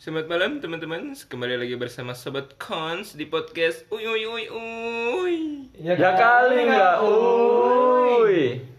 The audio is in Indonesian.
Selamat malam teman-teman, kembali lagi bersama Sobat Cons di podcast Uy Uy Uy Uy Ya kali nggak, uy.